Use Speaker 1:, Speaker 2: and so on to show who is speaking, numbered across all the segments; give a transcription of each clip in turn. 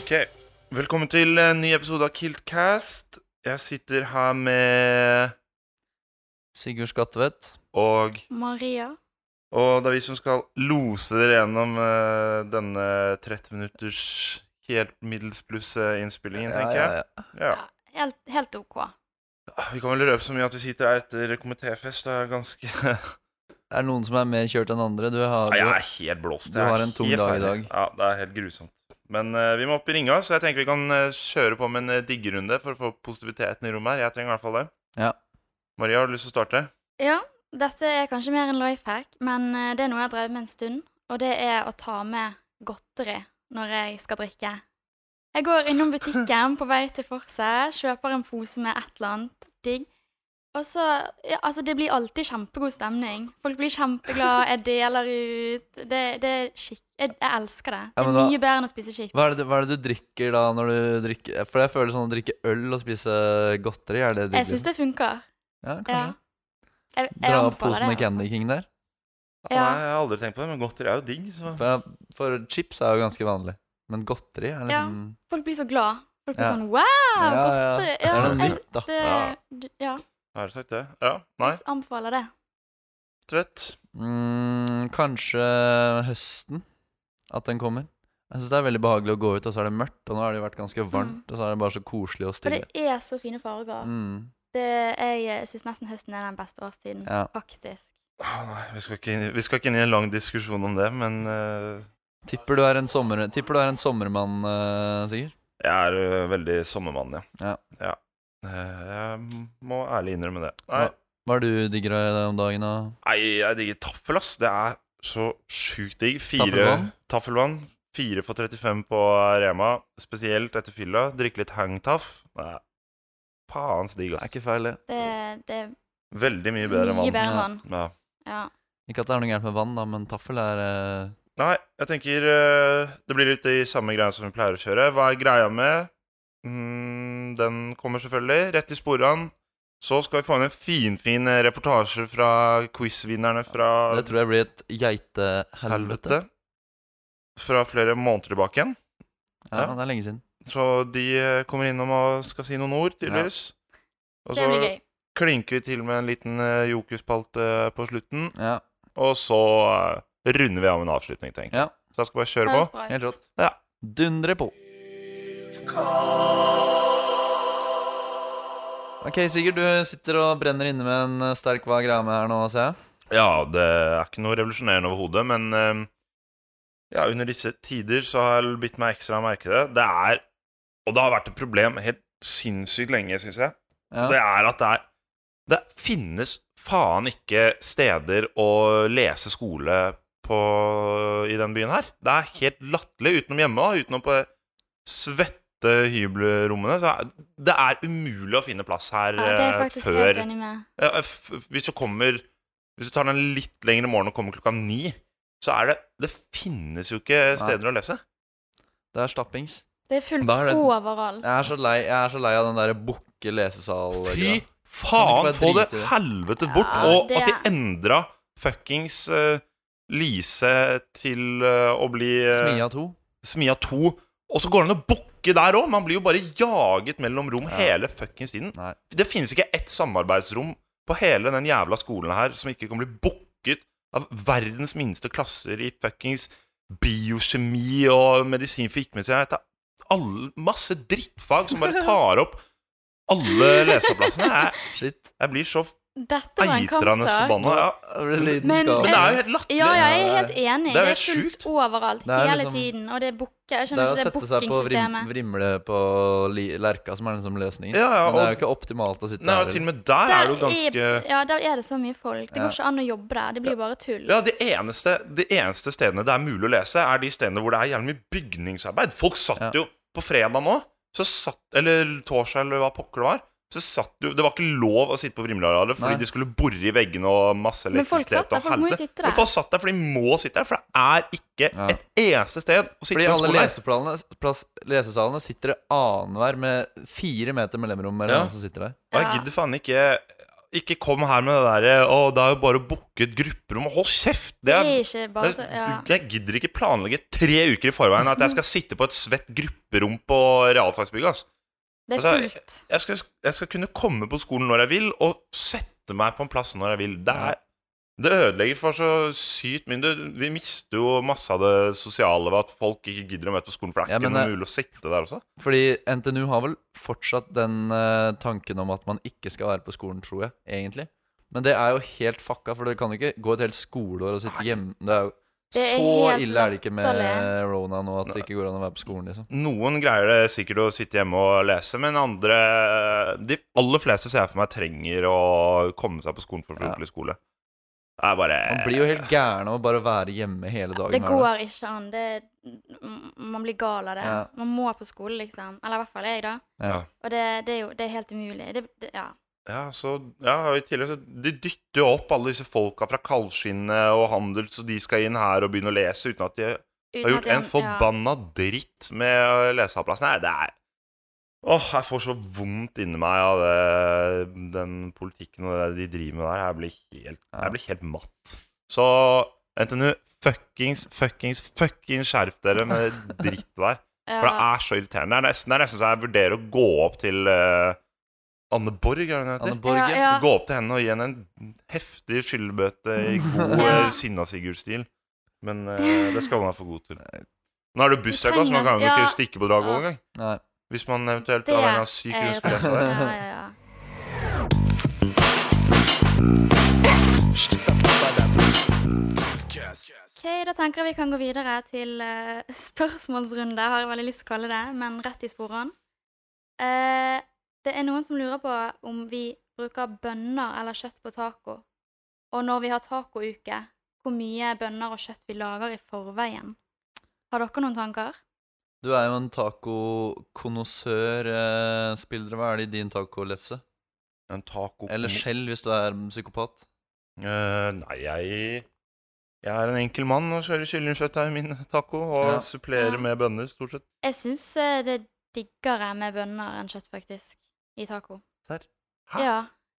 Speaker 1: Ok, Velkommen til en ny episode av Kiltcast. Jeg sitter her med
Speaker 2: Sigurd Skattevedt.
Speaker 1: og
Speaker 3: Maria.
Speaker 1: Og det er vi som skal lose dere gjennom eh, denne 30 minutters helt middels pluss-innspillingen, tenker jeg. Ja.
Speaker 3: Ja, helt, helt OK.
Speaker 1: Vi kan vel røpe så mye at vi sitter her etter komitéfest. Det er ganske
Speaker 2: Er det noen som er mer kjørt enn andre? Du har,
Speaker 1: Nei, jeg er helt blåst.
Speaker 2: du
Speaker 1: Jeg er
Speaker 2: har en tung
Speaker 1: helt
Speaker 2: dag i
Speaker 1: ferdig.
Speaker 2: dag.
Speaker 1: Ja, det er helt grusomt. Men eh, vi må opp i ringa, så jeg tenker vi kan eh, kjøre på med en eh, diggerunde for å få positiviteten i rommet her. Jeg trenger i hvert fall det.
Speaker 2: Ja.
Speaker 1: Maria, har du lyst til å starte?
Speaker 3: Ja, dette er kanskje mer en life hack, men eh, det er noe jeg har drevet med en stund. Og det er å ta med godteri når jeg skal drikke. Jeg går innom butikken på vei til Forse, kjøper en pose med et eller annet digg. Og så ja, Altså, det blir alltid kjempegod stemning. Folk blir kjempeglade, jeg deler ut. Det, det er skikk... Jeg, jeg elsker det.
Speaker 2: Ja,
Speaker 3: Det
Speaker 2: men
Speaker 3: er
Speaker 2: da-
Speaker 3: mye bedre enn å spise chips.
Speaker 2: Hva er, det, du- hva er det du drikker da når du drikker For jeg føler sånn å drikke øl og spise godteri, er det digg?
Speaker 3: Jeg syns det funker.
Speaker 2: Ja, kanskje.
Speaker 3: Ja. Jeg, jeg
Speaker 2: Dra opp
Speaker 3: anbefaler
Speaker 2: posen med
Speaker 3: det.
Speaker 2: Candy King der.
Speaker 3: Ja.
Speaker 1: Nei, jeg har aldri tenkt på det, men godteri er jo digg. Så.
Speaker 2: For, for chips er jo ganske vanlig. Men godteri er
Speaker 3: Ja.
Speaker 2: liksom
Speaker 3: Folk blir så glad. Folk blir
Speaker 2: Ja.
Speaker 3: sånn wow, godteri.
Speaker 2: Det er noe
Speaker 3: jeg-
Speaker 2: nytt, da.
Speaker 3: det,
Speaker 1: Ja.
Speaker 3: d- ja,
Speaker 1: Har du sagt det? Ja. Nei,
Speaker 3: jeg anbefaler det.
Speaker 1: tvett.
Speaker 2: Mm, kanskje høsten. At den kommer. Jeg syns det er veldig behagelig å gå ut, og så er det mørkt. Og nå har det jo vært ganske varmt,
Speaker 3: Mm.
Speaker 2: og så er det bare så koselig og
Speaker 3: For det
Speaker 2: stille.
Speaker 3: er så fine farger.
Speaker 2: Mm,
Speaker 3: Det, jeg syns nesten høsten er den beste årstiden,
Speaker 2: ja.
Speaker 3: faktisk.
Speaker 1: Ah, Nei, vi skal, ikke inn, i- vi skal ikke inn i en lang diskusjon om det, men eh,
Speaker 2: Tipper du er en, sommer, tipper du er en sommermann, eh, Sigurd?
Speaker 1: jeg er eh, veldig sommermann, ja.
Speaker 2: Ja.
Speaker 1: Eh, jeg må ærlig innrømme det. Nei,
Speaker 2: Ja. Hva er det du digger av om dagen? Og...
Speaker 1: nei jeg digger taffel, ass. Det er så sjukt digg. Fire
Speaker 2: Taffelvann?
Speaker 1: Taffelvann. Fire for 35 på Rema, spesielt etter fylla. Drikke litt hangtaff. Nei, Faens digg,
Speaker 2: Det er
Speaker 1: ass.
Speaker 2: ikke feil, det.
Speaker 3: Det, det er
Speaker 1: Veldig mye bedre enn
Speaker 3: mye
Speaker 1: vann.
Speaker 3: bedre enn
Speaker 2: Ja.
Speaker 3: vann.
Speaker 1: Ja.
Speaker 3: Ja.
Speaker 2: Ikke at det er noe gærent med vann, da, men taffel er eh,
Speaker 1: Nei, jeg tenker eh, det blir litt i samme greia som vi pleier å kjøre. Hva er greia med? Mm, den kommer selvfølgelig. Rett i sporene. Så skal vi få inn en finfin eh, reportasje fra quizvinnerne fra
Speaker 2: Det tror jeg blir et geitehelvete.
Speaker 1: helvete. Fra flere måneder tilbake igjen.
Speaker 2: Ja,
Speaker 1: Ja.
Speaker 2: det er lenge siden.
Speaker 1: Så de eh, kommer innom og skal si noen ord, tydeligvis. Og
Speaker 3: Det
Speaker 1: så
Speaker 3: blir gøy.
Speaker 1: klinker vi til med en liten eh, jokerspalte på slutten.
Speaker 2: Ja,
Speaker 1: Og så eh, runder vi av med en avslutning, tenker jeg.
Speaker 2: Ja.
Speaker 1: Så jeg skal bare
Speaker 3: Det
Speaker 1: kjøre
Speaker 3: høres
Speaker 1: på.
Speaker 3: bra ut.
Speaker 2: helt rått.
Speaker 1: Ja.
Speaker 2: Dundre på. Ok, Sigurd, du sitter og brenner inne med en eh, sterk hva er greia med her nå, ser jeg.
Speaker 1: Ja, det er ikke noe revolusjonerende overhodet, men eh, ja, under disse tider så har jeg bitt meg ekstra merke i det. Det er Og det har vært et problem helt sinnssykt lenge, syns jeg. Det
Speaker 2: Ja.
Speaker 1: er at det er Det finnes faen ikke steder å lese skole på i den byen her. Det er helt latterlig utenom hjemme, da, utenom på svette hybelrommene. Så er, det er umulig å finne plass her
Speaker 3: Ja, det er jeg
Speaker 1: eh,
Speaker 3: faktisk
Speaker 1: før
Speaker 3: helt enig med.
Speaker 1: ja, f- f- Hvis du kommer Hvis du tar den litt lengre morgen og kommer klokka ni, så er det Det finnes jo ikke steder å lese.
Speaker 2: Det er stappings.
Speaker 3: Det er fullt
Speaker 1: Da er det-
Speaker 3: overalt.
Speaker 2: Jeg er så lei, jeg er så lei av den derre bukke lesesal
Speaker 1: Fy
Speaker 2: Kan
Speaker 1: faen,
Speaker 2: du ikke bare
Speaker 1: få det
Speaker 2: drite i det?
Speaker 1: helvete bort!
Speaker 3: Ja,
Speaker 1: og
Speaker 3: det-
Speaker 1: at de endra fuckings eh, Lise til eh, å bli eh,
Speaker 2: Smia 2.
Speaker 1: Smia 2. Og så går det an å bukke der òg! Man blir jo bare jaget mellom rom hele fuckings tiden.
Speaker 2: Nei.
Speaker 1: Det finnes ikke ett samarbeidsrom på hele den jævla skolen her som ikke kan bli booket av verdens minste klasser i fuckings biokjemi og medisin for ikke-medisin. Det er alle- masse drittfag som bare tar opp alle leseplassene. Jeg,
Speaker 2: Shit.
Speaker 1: jeg blir så
Speaker 3: Dette var
Speaker 1: eitrende
Speaker 3: en kampsak.
Speaker 1: forbanna. Ja.
Speaker 2: Det blir
Speaker 3: Men-
Speaker 1: Men
Speaker 2: lidenskap.
Speaker 1: det er jo helt latterlig.
Speaker 3: Ja, ja, jeg er
Speaker 2: Ja,
Speaker 3: helt enig.
Speaker 1: det er
Speaker 3: Det er
Speaker 1: helt
Speaker 3: fullt
Speaker 1: sjukt.
Speaker 3: overalt
Speaker 2: Det er
Speaker 3: hele
Speaker 2: liksom-
Speaker 3: tiden. Og det er booker. Jeg
Speaker 2: Det er
Speaker 3: skjønner
Speaker 2: å
Speaker 3: ikke
Speaker 2: sette
Speaker 3: det
Speaker 2: seg på vrim,
Speaker 3: bookingsystemet.
Speaker 2: vrimle på li, lerka som er liksom løsningen.
Speaker 1: Ja, ja,
Speaker 2: Men det
Speaker 1: og-
Speaker 2: er jo ikke optimalt å sitte
Speaker 1: Nei, og
Speaker 2: der.
Speaker 1: til og med der er det jo ganske
Speaker 3: er- Ja, der er det så mye folk. Det
Speaker 2: Ja.
Speaker 3: går ikke an å jobbe der. Det blir bare tull.
Speaker 1: Ja, de eneste, de eneste stedene det er mulig å lese, er de stedene hvor det er jævlig mye bygningsarbeid. Folk satt
Speaker 2: Ja.
Speaker 1: jo på fredag nå, så satt, eller torsdag, eller hva pokker det var. Så satt jo, Det var ikke lov å sitte på Vrimlearealet fordi
Speaker 2: Nei.
Speaker 1: de skulle bore i veggene og masse
Speaker 3: Men folk satt
Speaker 1: elektrisitet
Speaker 3: der,
Speaker 1: og
Speaker 3: folk må jo
Speaker 1: helvete.
Speaker 3: sitte der.
Speaker 1: Men folk satt der, for de må sitte der, for det er ikke
Speaker 2: Ja.
Speaker 1: et eneste sted å sitte på
Speaker 2: Fordi
Speaker 1: en
Speaker 2: alle
Speaker 1: skole. her.
Speaker 2: leseplanene, plass, lesesalene sitter det annenhver med fire meter mellomrom mellom
Speaker 1: Ja.
Speaker 2: hvem som sitter der.
Speaker 1: Og jeg
Speaker 3: Ja.
Speaker 1: gidder faen ikke Ikke kom her med det derre 'Å, det er jo bare å booke et grupperom'. Hold kjeft! Det
Speaker 3: Det
Speaker 1: er,
Speaker 3: er ikke bare så
Speaker 1: det er,
Speaker 3: ja.
Speaker 1: Jeg gidder ikke planlegge tre uker i forveien at jeg skal sitte på et svett grupperom på realfagsbygget. ass.
Speaker 3: Det er
Speaker 1: altså,
Speaker 3: fullt.
Speaker 1: Jeg skal, jeg skal kunne komme på skolen når jeg vil, og sette meg på en plass når jeg vil. Det, er, det ødelegger for så sykt mye. Du- Vi mister jo masse av det sosiale ved at folk ikke gidder å møte på skolen, for det er
Speaker 2: Ja, men eh,
Speaker 1: ikke noe
Speaker 2: det-
Speaker 1: mulig å sitte der også.
Speaker 2: Fordi NTNU har vel fortsatt den eh, tanken om at man ikke skal være på skolen, tror jeg, egentlig. Men det er jo helt fucka, for det kan jo ikke gå et helt skoleår og sitte hjemme. Det er jo
Speaker 3: Det er
Speaker 2: så
Speaker 3: helt
Speaker 2: ille er det ikke med
Speaker 3: latterlig.
Speaker 2: Rona nå at det ikke går an å være på skolen, liksom.
Speaker 1: Noen greier det sikkert å sitte hjemme og lese, men andre De aller fleste ser jeg for meg trenger å komme seg på skolen for å få
Speaker 2: Ja.
Speaker 1: ordentlig skole. Det er bare
Speaker 2: Man blir jo helt gæren av å bare være hjemme hele dagen. er
Speaker 3: Det
Speaker 2: det?
Speaker 3: går ikke an. Det, m- man blir gal av det.
Speaker 2: Ja.
Speaker 3: Man må på skole, liksom. Eller i hvert fall jeg, da.
Speaker 2: Ja.
Speaker 3: Og det, det er jo det er helt umulig. Det, det, ja.
Speaker 1: Ja, så, ja, og i tillegg så De dytter jo opp alle disse folka fra Kaldskinnet og Handel, så de skal inn her og begynne å lese uten at de
Speaker 3: Uten
Speaker 1: har
Speaker 3: at
Speaker 1: gjort
Speaker 3: jeg-
Speaker 1: en forbanna dritt med leseavplassen. Nei, det er Åh, jeg får så vondt inni meg av det, den politikken og det de driver med der. Jeg blir helt, jeg blir helt matt. Så NTNU, fuckings, fuckings, fuckings skjerp dere med det drittet der.
Speaker 3: Ja.
Speaker 1: For det er så irriterende. Det er nesten, det er nesten så jeg vurderer å gå opp til eh, Anne Borg, er det hun heter?
Speaker 2: Anne Borg,
Speaker 3: Ja, ja.
Speaker 1: Gå opp til henne og gi henne en heftig skyldbøte i god
Speaker 3: Ja.
Speaker 1: eh, Sinna Sigurd-stil. Men eh, det skal man være for god til. Nå er det jo bussstreik, så
Speaker 3: trenger-
Speaker 1: man kan jo
Speaker 3: ja.
Speaker 1: ikke stikke på Dragvoll
Speaker 3: Ja.
Speaker 1: engang.
Speaker 2: Nei.
Speaker 1: Hvis man eventuelt
Speaker 3: Det
Speaker 1: av en eller annen syk
Speaker 3: er-
Speaker 1: grunn skulle lese det.
Speaker 3: Ja, ja, ja. Ok, da tenker jeg vi kan gå videre til eh, spørsmålsrunde, har jeg veldig lyst til å kalle det, men rett i sporene. Eh, det er noen som lurer på om vi bruker bønner eller kjøtt på taco, og når vi har tacouke, hvor mye bønner og kjøtt vi lager i forveien. Har dere noen tanker?
Speaker 2: Du er jo en tacokonnoissør. Eh, spillere, hva er det i din tacolefse?
Speaker 1: En taco
Speaker 2: Eller skjell, hvis du er psykopat.
Speaker 1: Eh, Nei, jeg Jeg er en enkel mann og kjører kyllingkjøtt her i min taco. Og
Speaker 2: Ja.
Speaker 1: supplerer
Speaker 3: Ja.
Speaker 1: med bønner, stort sett.
Speaker 3: Jeg syns eh, det er diggere med bønner enn kjøtt, faktisk, i taco.
Speaker 2: Serr?
Speaker 1: Hæ?
Speaker 3: Ja,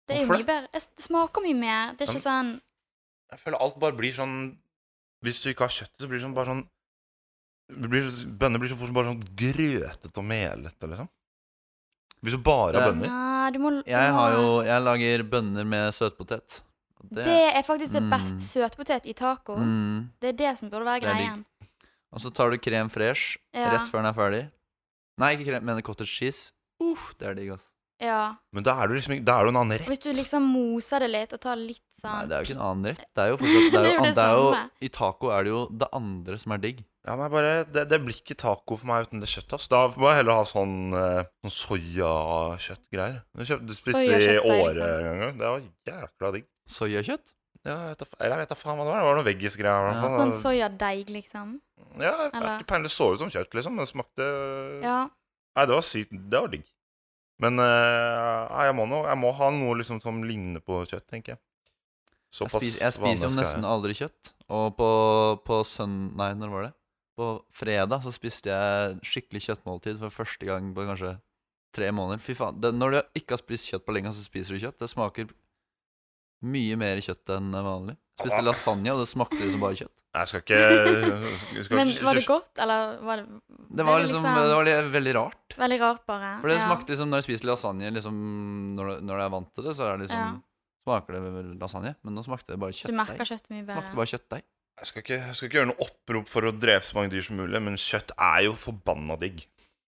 Speaker 3: det er jo
Speaker 1: Hvorfor det?
Speaker 3: mye bedre. Jeg s- Det smaker mye mer. Det er ikke sånn
Speaker 1: Jeg føler alt bare blir sånn Hvis du ikke har kjøttet, så blir det sånn bare sånn det blir, Bønner blir så fort bare sånn grøtete og melete, liksom. Hvis du bare har
Speaker 2: Ja.
Speaker 1: bønner.
Speaker 3: Nei, du må du
Speaker 2: Jeg
Speaker 3: må-
Speaker 2: har jo Jeg lager bønner med søtpotet. Og
Speaker 3: Det, er faktisk det best
Speaker 2: Mm.
Speaker 3: søtpotet i taco.
Speaker 2: mm.
Speaker 3: Det er det som burde være
Speaker 2: Det er digg.
Speaker 3: greien.
Speaker 2: Og så tar du krem fresh
Speaker 3: Ja.
Speaker 2: rett før den er ferdig. Nei, ikke krem, men cottage cheese. Uff, det er digg, ass.
Speaker 3: Ja.
Speaker 1: Men da er du liksom ikke- Da er du en annen
Speaker 3: Og hvis du
Speaker 1: rett.
Speaker 3: liksom moser det litt og tar litt
Speaker 2: Nei,
Speaker 3: sånn
Speaker 2: det er jo ikke en annen rett. Det er jo fortsatt Det er jo,
Speaker 3: Det er jo det
Speaker 2: det er jo,
Speaker 3: samme.
Speaker 2: I taco er det jo det andre som er digg.
Speaker 1: Ja, men jeg bare, det, det blir ikke taco for meg uten det kjøttet. ass. Da må jeg heller ha sånn, eh, sånn soyakjøttgreier. Du, kjøpt, du spiste i
Speaker 3: Soyakjøttdeig,
Speaker 1: Åre
Speaker 3: liksom.
Speaker 1: en gang. jo. Det var jækla digg.
Speaker 2: Soyakjøtt?
Speaker 1: Ja, jeg vet da fa- eller jeg vet da faen hva det var. Det var noe veggisgreier. i hvert
Speaker 2: Ja.
Speaker 1: fall.
Speaker 3: Sånn soyadeig, liksom.
Speaker 2: Mm.
Speaker 1: Ja, jeg har
Speaker 3: Eller-
Speaker 1: ikke peiling. Det så ut som kjøtt, liksom. men Det smakte
Speaker 3: Ja.
Speaker 1: Nei, det var sykt. Det var digg. Men eh, nei, jeg, må nå, jeg må ha noe liksom som ligner på kjøtt, tenker jeg.
Speaker 2: Jeg spiser, jeg spiser jo nesten aldri kjøtt. Og på, på søn... Nei, når var det? På fredag så spiste jeg skikkelig kjøttmåltid for første gang på kanskje tre måneder. Fy faen. Det, når du ikke har spist kjøtt på lenge, så spiser du kjøtt. Det smaker mye mer kjøtt enn vanlig. Jeg spiste lasagne, og det smakte liksom bare kjøtt.
Speaker 1: Jeg skal ikke, jeg skal
Speaker 3: Men
Speaker 1: ikke
Speaker 3: var det godt, eller var det
Speaker 2: Det var liksom Det var li- veldig rart.
Speaker 3: Veldig rart, bare.
Speaker 2: For det
Speaker 3: Ja.
Speaker 2: smakte liksom Når jeg spiser lasagne liksom, når, du- når jeg er vant til det, så er det liksom
Speaker 3: Ja.
Speaker 2: Smaker det vel lasagne? Men nå smakte det bare
Speaker 3: Du merker
Speaker 2: kjøttdeig.
Speaker 3: kjøttet mye
Speaker 2: Smakte
Speaker 3: bedre.
Speaker 2: bare kjøttdeig.
Speaker 1: Jeg skal ikke, jeg skal ikke gjøre noe opprop for å drepe så mange dyr som mulig, men kjøtt er jo forbanna digg.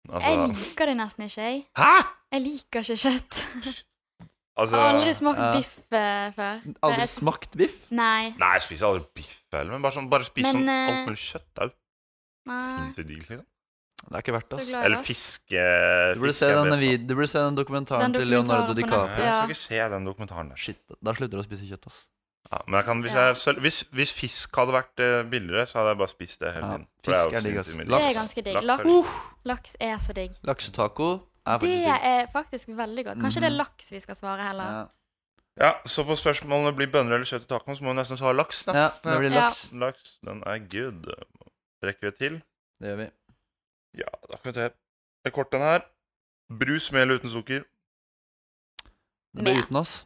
Speaker 3: Jeg
Speaker 1: Altså,
Speaker 3: liker det nesten ikke, jeg.
Speaker 1: Hæ?!
Speaker 3: Jeg liker ikke kjøtt. Jeg
Speaker 1: Altså,
Speaker 3: har aldri smakt
Speaker 2: Ja.
Speaker 3: biff eh, før.
Speaker 2: Aldri
Speaker 3: Jeg-
Speaker 2: smakt biff?
Speaker 3: Nei.
Speaker 1: Nei, jeg spiser aldri biff heller, men bare, sånn, bare spis
Speaker 3: Men,
Speaker 1: sånn
Speaker 3: eh,
Speaker 1: alt mulig kjøtt. Det er jo
Speaker 3: Nei.
Speaker 1: sinnssykt digg, liksom.
Speaker 2: Det er ikke verdt det.
Speaker 3: Så
Speaker 2: ass.
Speaker 3: glad i
Speaker 1: Eller
Speaker 3: oss.
Speaker 1: fiske...
Speaker 2: Du burde
Speaker 1: fiske
Speaker 2: se
Speaker 1: er
Speaker 2: den,
Speaker 1: best, da.
Speaker 2: vid- du burde se den dokumentaren
Speaker 3: Den
Speaker 2: til Leonardo
Speaker 3: dokumentaren på nett-
Speaker 1: Nei,
Speaker 2: DiCaprio.
Speaker 1: Jeg
Speaker 3: Ja.
Speaker 1: skal ikke se den dokumentaren. der.
Speaker 2: Shit, da slutter du å spise kjøtt, ass.
Speaker 1: Ja, men jeg kan, hvis,
Speaker 3: Ja.
Speaker 1: jeg, selv- hvis, hvis fisk hadde vært eh, billigere, så hadde jeg bare spist det hele
Speaker 2: Ja,
Speaker 1: tiden.
Speaker 2: fisk er digg, ass.
Speaker 3: Det
Speaker 2: Laks.
Speaker 3: er ganske digg.
Speaker 1: Laks er
Speaker 3: Laks, laks er så digg.
Speaker 2: Laksetaco er
Speaker 3: Det
Speaker 2: faktisk digg. Mm.
Speaker 3: er faktisk veldig godt. Kanskje det er laks vi skal svare heller.
Speaker 2: Ja.
Speaker 1: Ja, så på spørsmålet om det blir bønner eller kjøtt i tacoen, så må vi nesten svare laks, da.
Speaker 2: ja, det blir
Speaker 3: Ja.
Speaker 2: laks.
Speaker 1: Laks, den er good. Rekker vi til?
Speaker 2: Det gjør vi.
Speaker 1: Ja, da kan vi ta det er kort den her. Brus med eller uten sukker?
Speaker 2: Det blir
Speaker 3: Med.
Speaker 2: uten oss.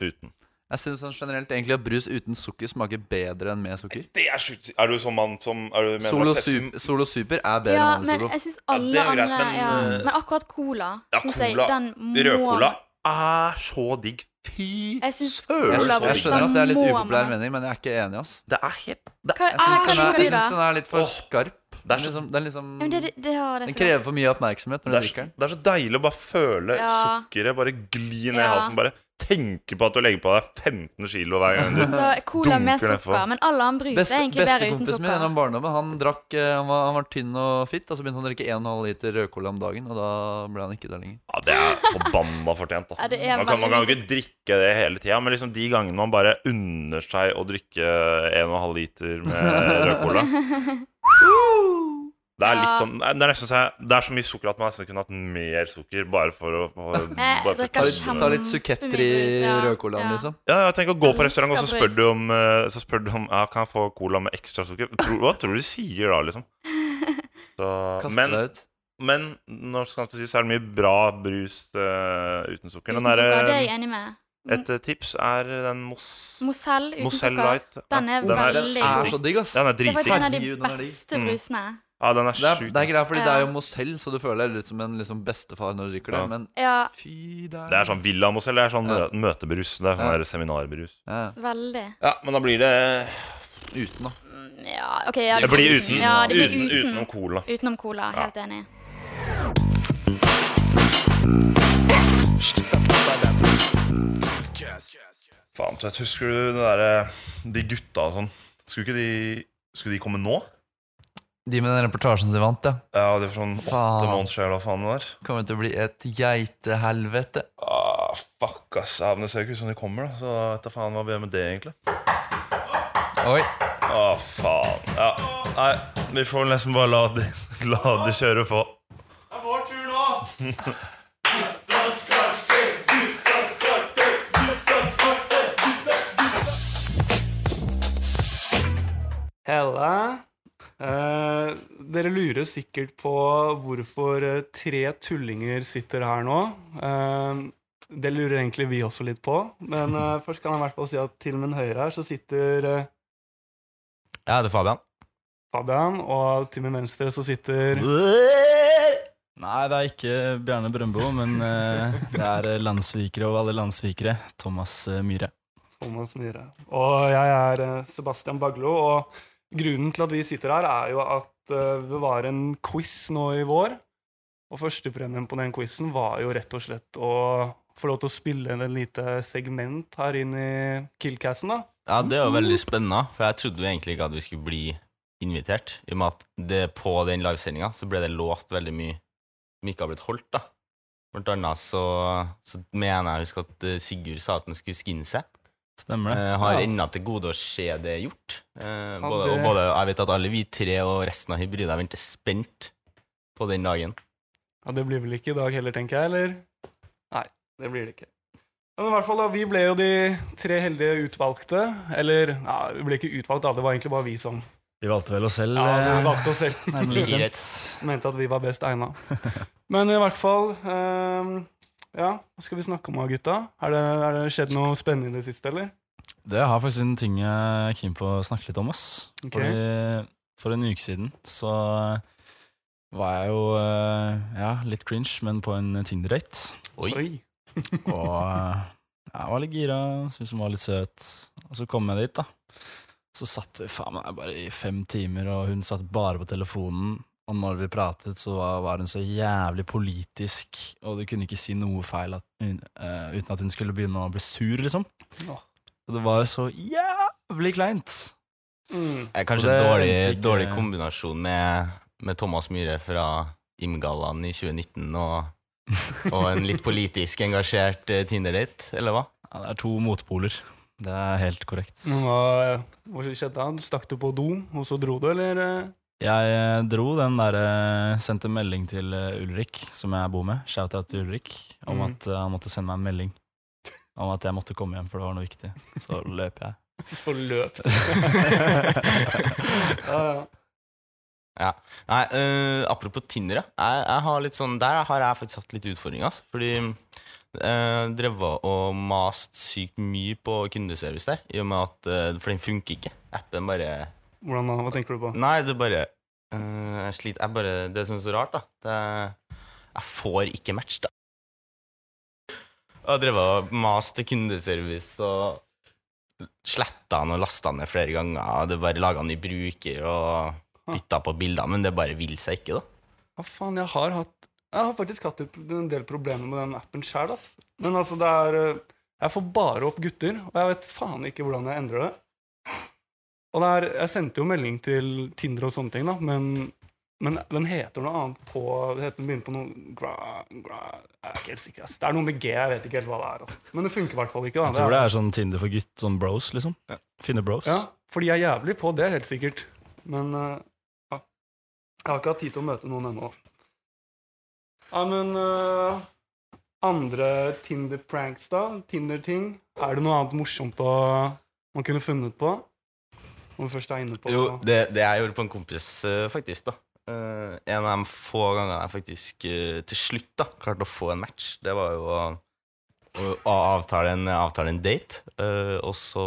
Speaker 1: uten.
Speaker 2: Jeg syns sånn generelt egentlig at brus uten sukker smaker bedre enn med sukker.
Speaker 1: Det er sjukt. Er du sånn mann som er du mener
Speaker 2: Solo,
Speaker 1: at Pepsi-
Speaker 2: sup, Solo Super er bedre
Speaker 3: Ja,
Speaker 2: enn
Speaker 3: men
Speaker 2: Solo.
Speaker 3: jeg syns
Speaker 1: Ja,
Speaker 3: alle
Speaker 1: det er greit,
Speaker 3: andre
Speaker 1: men,
Speaker 3: ja.
Speaker 1: eh,
Speaker 3: Men akkurat cola
Speaker 1: Ja,
Speaker 3: synes jeg,
Speaker 1: cola.
Speaker 3: den må
Speaker 1: Rødcola er så digg. Fy
Speaker 3: Jeg syns
Speaker 1: søren,
Speaker 2: Jeg
Speaker 3: cola
Speaker 1: så digg.
Speaker 2: skjønner, jeg
Speaker 3: brukte
Speaker 2: skjønner at det er litt
Speaker 3: må man
Speaker 2: upopulær
Speaker 3: ha.
Speaker 2: mening, men jeg er ikke enig. ass
Speaker 1: Det er helt det er,
Speaker 3: Hva,
Speaker 2: Jeg
Speaker 3: ah,
Speaker 2: syns
Speaker 3: hva
Speaker 2: den, er-
Speaker 3: liker du,
Speaker 2: jeg
Speaker 3: da?
Speaker 2: syns den er litt for
Speaker 1: Åh, det
Speaker 2: skarp.
Speaker 1: er
Speaker 2: Den
Speaker 1: så-
Speaker 2: liksom, den, liksom,
Speaker 3: Ja, men det, det, det, ja, det er
Speaker 2: den
Speaker 3: så godt.
Speaker 2: krever for mye oppmerksomhet når
Speaker 1: det,
Speaker 2: du
Speaker 1: er, så-
Speaker 2: drikker den.
Speaker 1: det er så deilig å bare føle
Speaker 3: Ja.
Speaker 1: sukkeret bare gli ned i
Speaker 3: Ja.
Speaker 1: halsen. Bare tenke på at du legger på deg 15 kilo hver gang du
Speaker 3: Så cola med
Speaker 1: Dunker nedpå.
Speaker 3: sukker. Men all annen brus er
Speaker 2: Beste-
Speaker 3: egentlig bedre uten
Speaker 2: Bestekompisen min
Speaker 3: sukker.
Speaker 2: gjennom barndommen Han drakk, eh, han var, han var tynn og fitt, og så begynte han å drikke 1,5 liter rødcola om dagen, og da ble han ikke der lenger.
Speaker 1: Ja, det er forbanna fortjent, da.
Speaker 3: Ja, det er
Speaker 1: man, kan, man kan jo
Speaker 3: veldig-
Speaker 1: ikke drikke det hele tida, men liksom de gangene man bare unner seg å drikke 1,5 liter med rød cola Det er litt
Speaker 3: Ja.
Speaker 1: sånn Det er nesten så, jeg, det er så mye sukker at man nesten kunne hatt mer sukker bare for å for,
Speaker 3: Jeg
Speaker 1: bare for å
Speaker 3: drikker
Speaker 2: Ta
Speaker 1: kødde
Speaker 2: litt,
Speaker 1: med det.
Speaker 2: ta litt suketter i
Speaker 3: Kjempemye brus, ja.
Speaker 2: rødcolaen,
Speaker 3: Ja.
Speaker 2: liksom.
Speaker 1: Ja, ja, tenk å gå på
Speaker 3: Elsker
Speaker 1: restaurant, og så spør
Speaker 3: brus.
Speaker 1: du om, eh, så spør du om ja, Kan jeg få cola med ekstra sukker? Tror, hva tror du de sier da, liksom? Så,
Speaker 2: Kaste
Speaker 1: men,
Speaker 2: deg ut.
Speaker 1: men når skal det sies, så er det mye bra brus eh, uten sukker.
Speaker 3: Uten
Speaker 1: Den der,
Speaker 3: sukker, det er
Speaker 1: eh,
Speaker 3: jeg enig med.
Speaker 1: et eh, tips er den mos...
Speaker 3: Mosell uten
Speaker 1: Mosell
Speaker 3: sukker.
Speaker 1: Light. Ja,
Speaker 3: Den er
Speaker 1: den er,
Speaker 3: veldig
Speaker 2: Den er så digg, ass.
Speaker 1: Den er
Speaker 3: Det sånn er faktisk en
Speaker 1: dritdigg.
Speaker 2: Herregud,
Speaker 3: av de
Speaker 2: den er digg.
Speaker 3: beste
Speaker 1: Mm.
Speaker 3: brusene.
Speaker 1: Ja, den er
Speaker 2: Det er,
Speaker 1: sjukt.
Speaker 2: det er greit, fordi det er jo
Speaker 3: Ja.
Speaker 2: Mosell, så du føler deg litt som en liksom, bestefar når du drikker det,
Speaker 1: Ja.
Speaker 2: men
Speaker 3: Ja,
Speaker 2: fy der.
Speaker 1: Det er sånn Villa-mos, eller det er sånn
Speaker 2: Ja.
Speaker 1: mø- møtebrus. Det er sånn
Speaker 2: Ja.
Speaker 1: der seminarbrus.
Speaker 2: ja,
Speaker 3: veldig.
Speaker 1: Ja, men da blir det
Speaker 2: Uten, da.
Speaker 3: Mm, Ja, OK. Ja,
Speaker 1: Det blir uten.
Speaker 3: Ja, det blir
Speaker 1: uten,
Speaker 3: uten.
Speaker 1: Utenom cola.
Speaker 3: Utenom cola. Helt enig.
Speaker 1: Faen, Tvedt, husker du det derre De gutta og sånn. Skulle ikke de Skulle de komme nå?
Speaker 2: De med den reportasjen de vant, ja.
Speaker 1: Ja, det var sånn åtte
Speaker 2: Faen.
Speaker 1: måneder siden, eller hva faen det var.
Speaker 2: Kommer til å bli et geitehelvete.
Speaker 1: Ah, fuck, ass. Ja, men det ser jo ikke ut som de kommer, da. Så vet da faen hva vi gjør med det, egentlig.
Speaker 2: Oi.
Speaker 1: Å, faen. Ja. Nei, vi får vel nesten bare la de, la de kjøre på.
Speaker 4: vår tur nå! Gutta skarpe, gutta skarpe, gutta skarpe, gutta skarpe. Hella. Eh, dere lurer sikkert på hvorfor eh, tre tullinger sitter her nå. Eh, det lurer egentlig vi også litt på. Men eh, først kan jeg i hvert fall si at til min høyre her så sitter eh,
Speaker 5: Ja, det er Fabian.
Speaker 4: Fabian, og til min venstre så sitter
Speaker 5: Nei, det er ikke Bjarne Brøndbo, men eh, det er eh, landssvikere og alle landssvikere. Thomas eh, Myhre.
Speaker 4: Thomas Myhre. Og jeg er eh, Sebastian Baglo, og grunnen til at vi sitter her, er jo at eh, det var en quiz nå i vår. Og førstepremien på den quizen var jo rett og slett å få lov til å spille en lite segment her inn i Killcassen, da.
Speaker 6: Ja, det var veldig spennende, for jeg trodde jo egentlig ikke at vi skulle bli invitert, i og med at det på den livesendinga så ble det låst veldig mye som ikke har blitt holdt, da. Blant annet så, så mener jeg å huske at eh, Sigurd sa at han skulle skinne seg.
Speaker 5: Stemmer det?
Speaker 6: Eh, har
Speaker 4: Ja.
Speaker 6: ennå til gode å se det gjort. Eh,
Speaker 4: Ja,
Speaker 6: både,
Speaker 4: det-
Speaker 6: og både, jeg vet at alle vi tre og resten av hybrida venter spent på den dagen.
Speaker 4: Ja, det blir vel ikke i dag heller, tenker jeg, eller? Nei, det blir det ikke. Men i hvert fall da, vi ble jo de tre heldige utvalgte. Eller, ja, vi ble ikke utvalgt da, det var egentlig bare vi som
Speaker 5: Vi valgte vel oss selv.
Speaker 4: ja, vi
Speaker 5: eh,
Speaker 4: valgte oss selv.
Speaker 5: nærmere bestemt.
Speaker 4: mente at vi var best egna. Men i hvert fall ehm, Ja, hva skal vi snakke om, da, gutta? Er det, er det skjedd noe spennende i det siste, eller?
Speaker 5: Det har faktisk en ting jeg er keen på å snakke litt om. ass.
Speaker 4: Ok.
Speaker 5: Fordi For en uke siden så var jeg jo eh, ja, litt cringe, men på en Tinder-date.
Speaker 6: Oi.
Speaker 5: Og eh, jeg var litt gira, syntes hun var litt søt. Og så kom jeg dit, da. Så satt vi faen meg bare i fem timer, og hun satt bare på telefonen. Og når vi pratet, så var, var hun så jævlig politisk, og du kunne ikke si noe feil at, hun- eh, uten at hun skulle begynne å bli sur, liksom.
Speaker 4: Åh.
Speaker 5: Og det var jo så jævlig kleint.
Speaker 4: Mm.
Speaker 6: Eh, Kanskje
Speaker 5: Så det
Speaker 6: en dårlig,
Speaker 5: endte ikke-
Speaker 6: dårlig kombinasjon med, med Thomas Myhre fra Imgallaen i 2019 og, og en litt politisk engasjert eh, Tinder-date, eller hva?
Speaker 5: Ja, det er to motpoler. Det er helt korrekt.
Speaker 4: Men Hva, hva skjedde da? Du Stakk du på do, og så dro du, eller? eh?
Speaker 5: Jeg eh, dro den der eh, Sendte melding til eh, Ulrik, som jeg bor med. Shout-out til Ulrik. Om
Speaker 4: Mm.
Speaker 5: at eh, han måtte sende meg en melding om at jeg måtte komme hjem, for det var noe viktig. Så løp jeg.
Speaker 4: Så løp du. ja, ja.
Speaker 6: Nei, eh, apropos Tinder, ja. jeg, jeg har litt sånn, der har jeg faktisk hatt litt utfordringer. Altså, fordi Eh, drevet og mast sykt mye på kundeservice der, i og med at, eh, for den funker ikke. Appen bare
Speaker 4: Hvordan da? Hva tenker du på?
Speaker 6: Nei, det er bare eh, Jeg sliter jeg bare, Det som er så rart, da det er, Jeg får ikke match, da. Jeg har drevet og mast til kundeservice og sletta han og lasta han ned flere ganger. og Det er bare laga ny bruker og bytta på bilder, men det bare vil seg ikke, da.
Speaker 4: Hva faen, jeg har hatt Jeg har faktisk hatt et- en del problemer med den appen sjæl, ass. Men altså, det er eh, Jeg får bare opp gutter, og jeg vet faen ikke hvordan jeg endrer det. Og det er Jeg sendte jo melding til Tinder og sånne ting, da, men, men den heter noe annet på det heter, Den begynner på noe gra, gra, Jeg er ikke helt sikker, ass. Det er noe med G, jeg vet ikke helt hva det er. Ass. Men det funker i hvert fall ikke.
Speaker 5: Jeg
Speaker 4: da.
Speaker 5: tror det er sånn Tinder for gutt, sånn bros, liksom. Finne bros.
Speaker 4: Ja, for de er jævlig på, det er helt sikkert. Men eh, ja. jeg har ikke hatt tid til å møte noen ennå. Ja, men eh, andre Tinder-pranks, da? Tinder-ting? Er det noe annet morsomt å, man kunne funnet på? Om vi først er inne på
Speaker 6: Jo, det, det jeg gjorde på en kompis, eh, faktisk, da. Eh, en av de få gangene jeg faktisk eh, til slutt da klarte å få en match, det var jo å, å, å avtale, en, avtale en date, eh, og så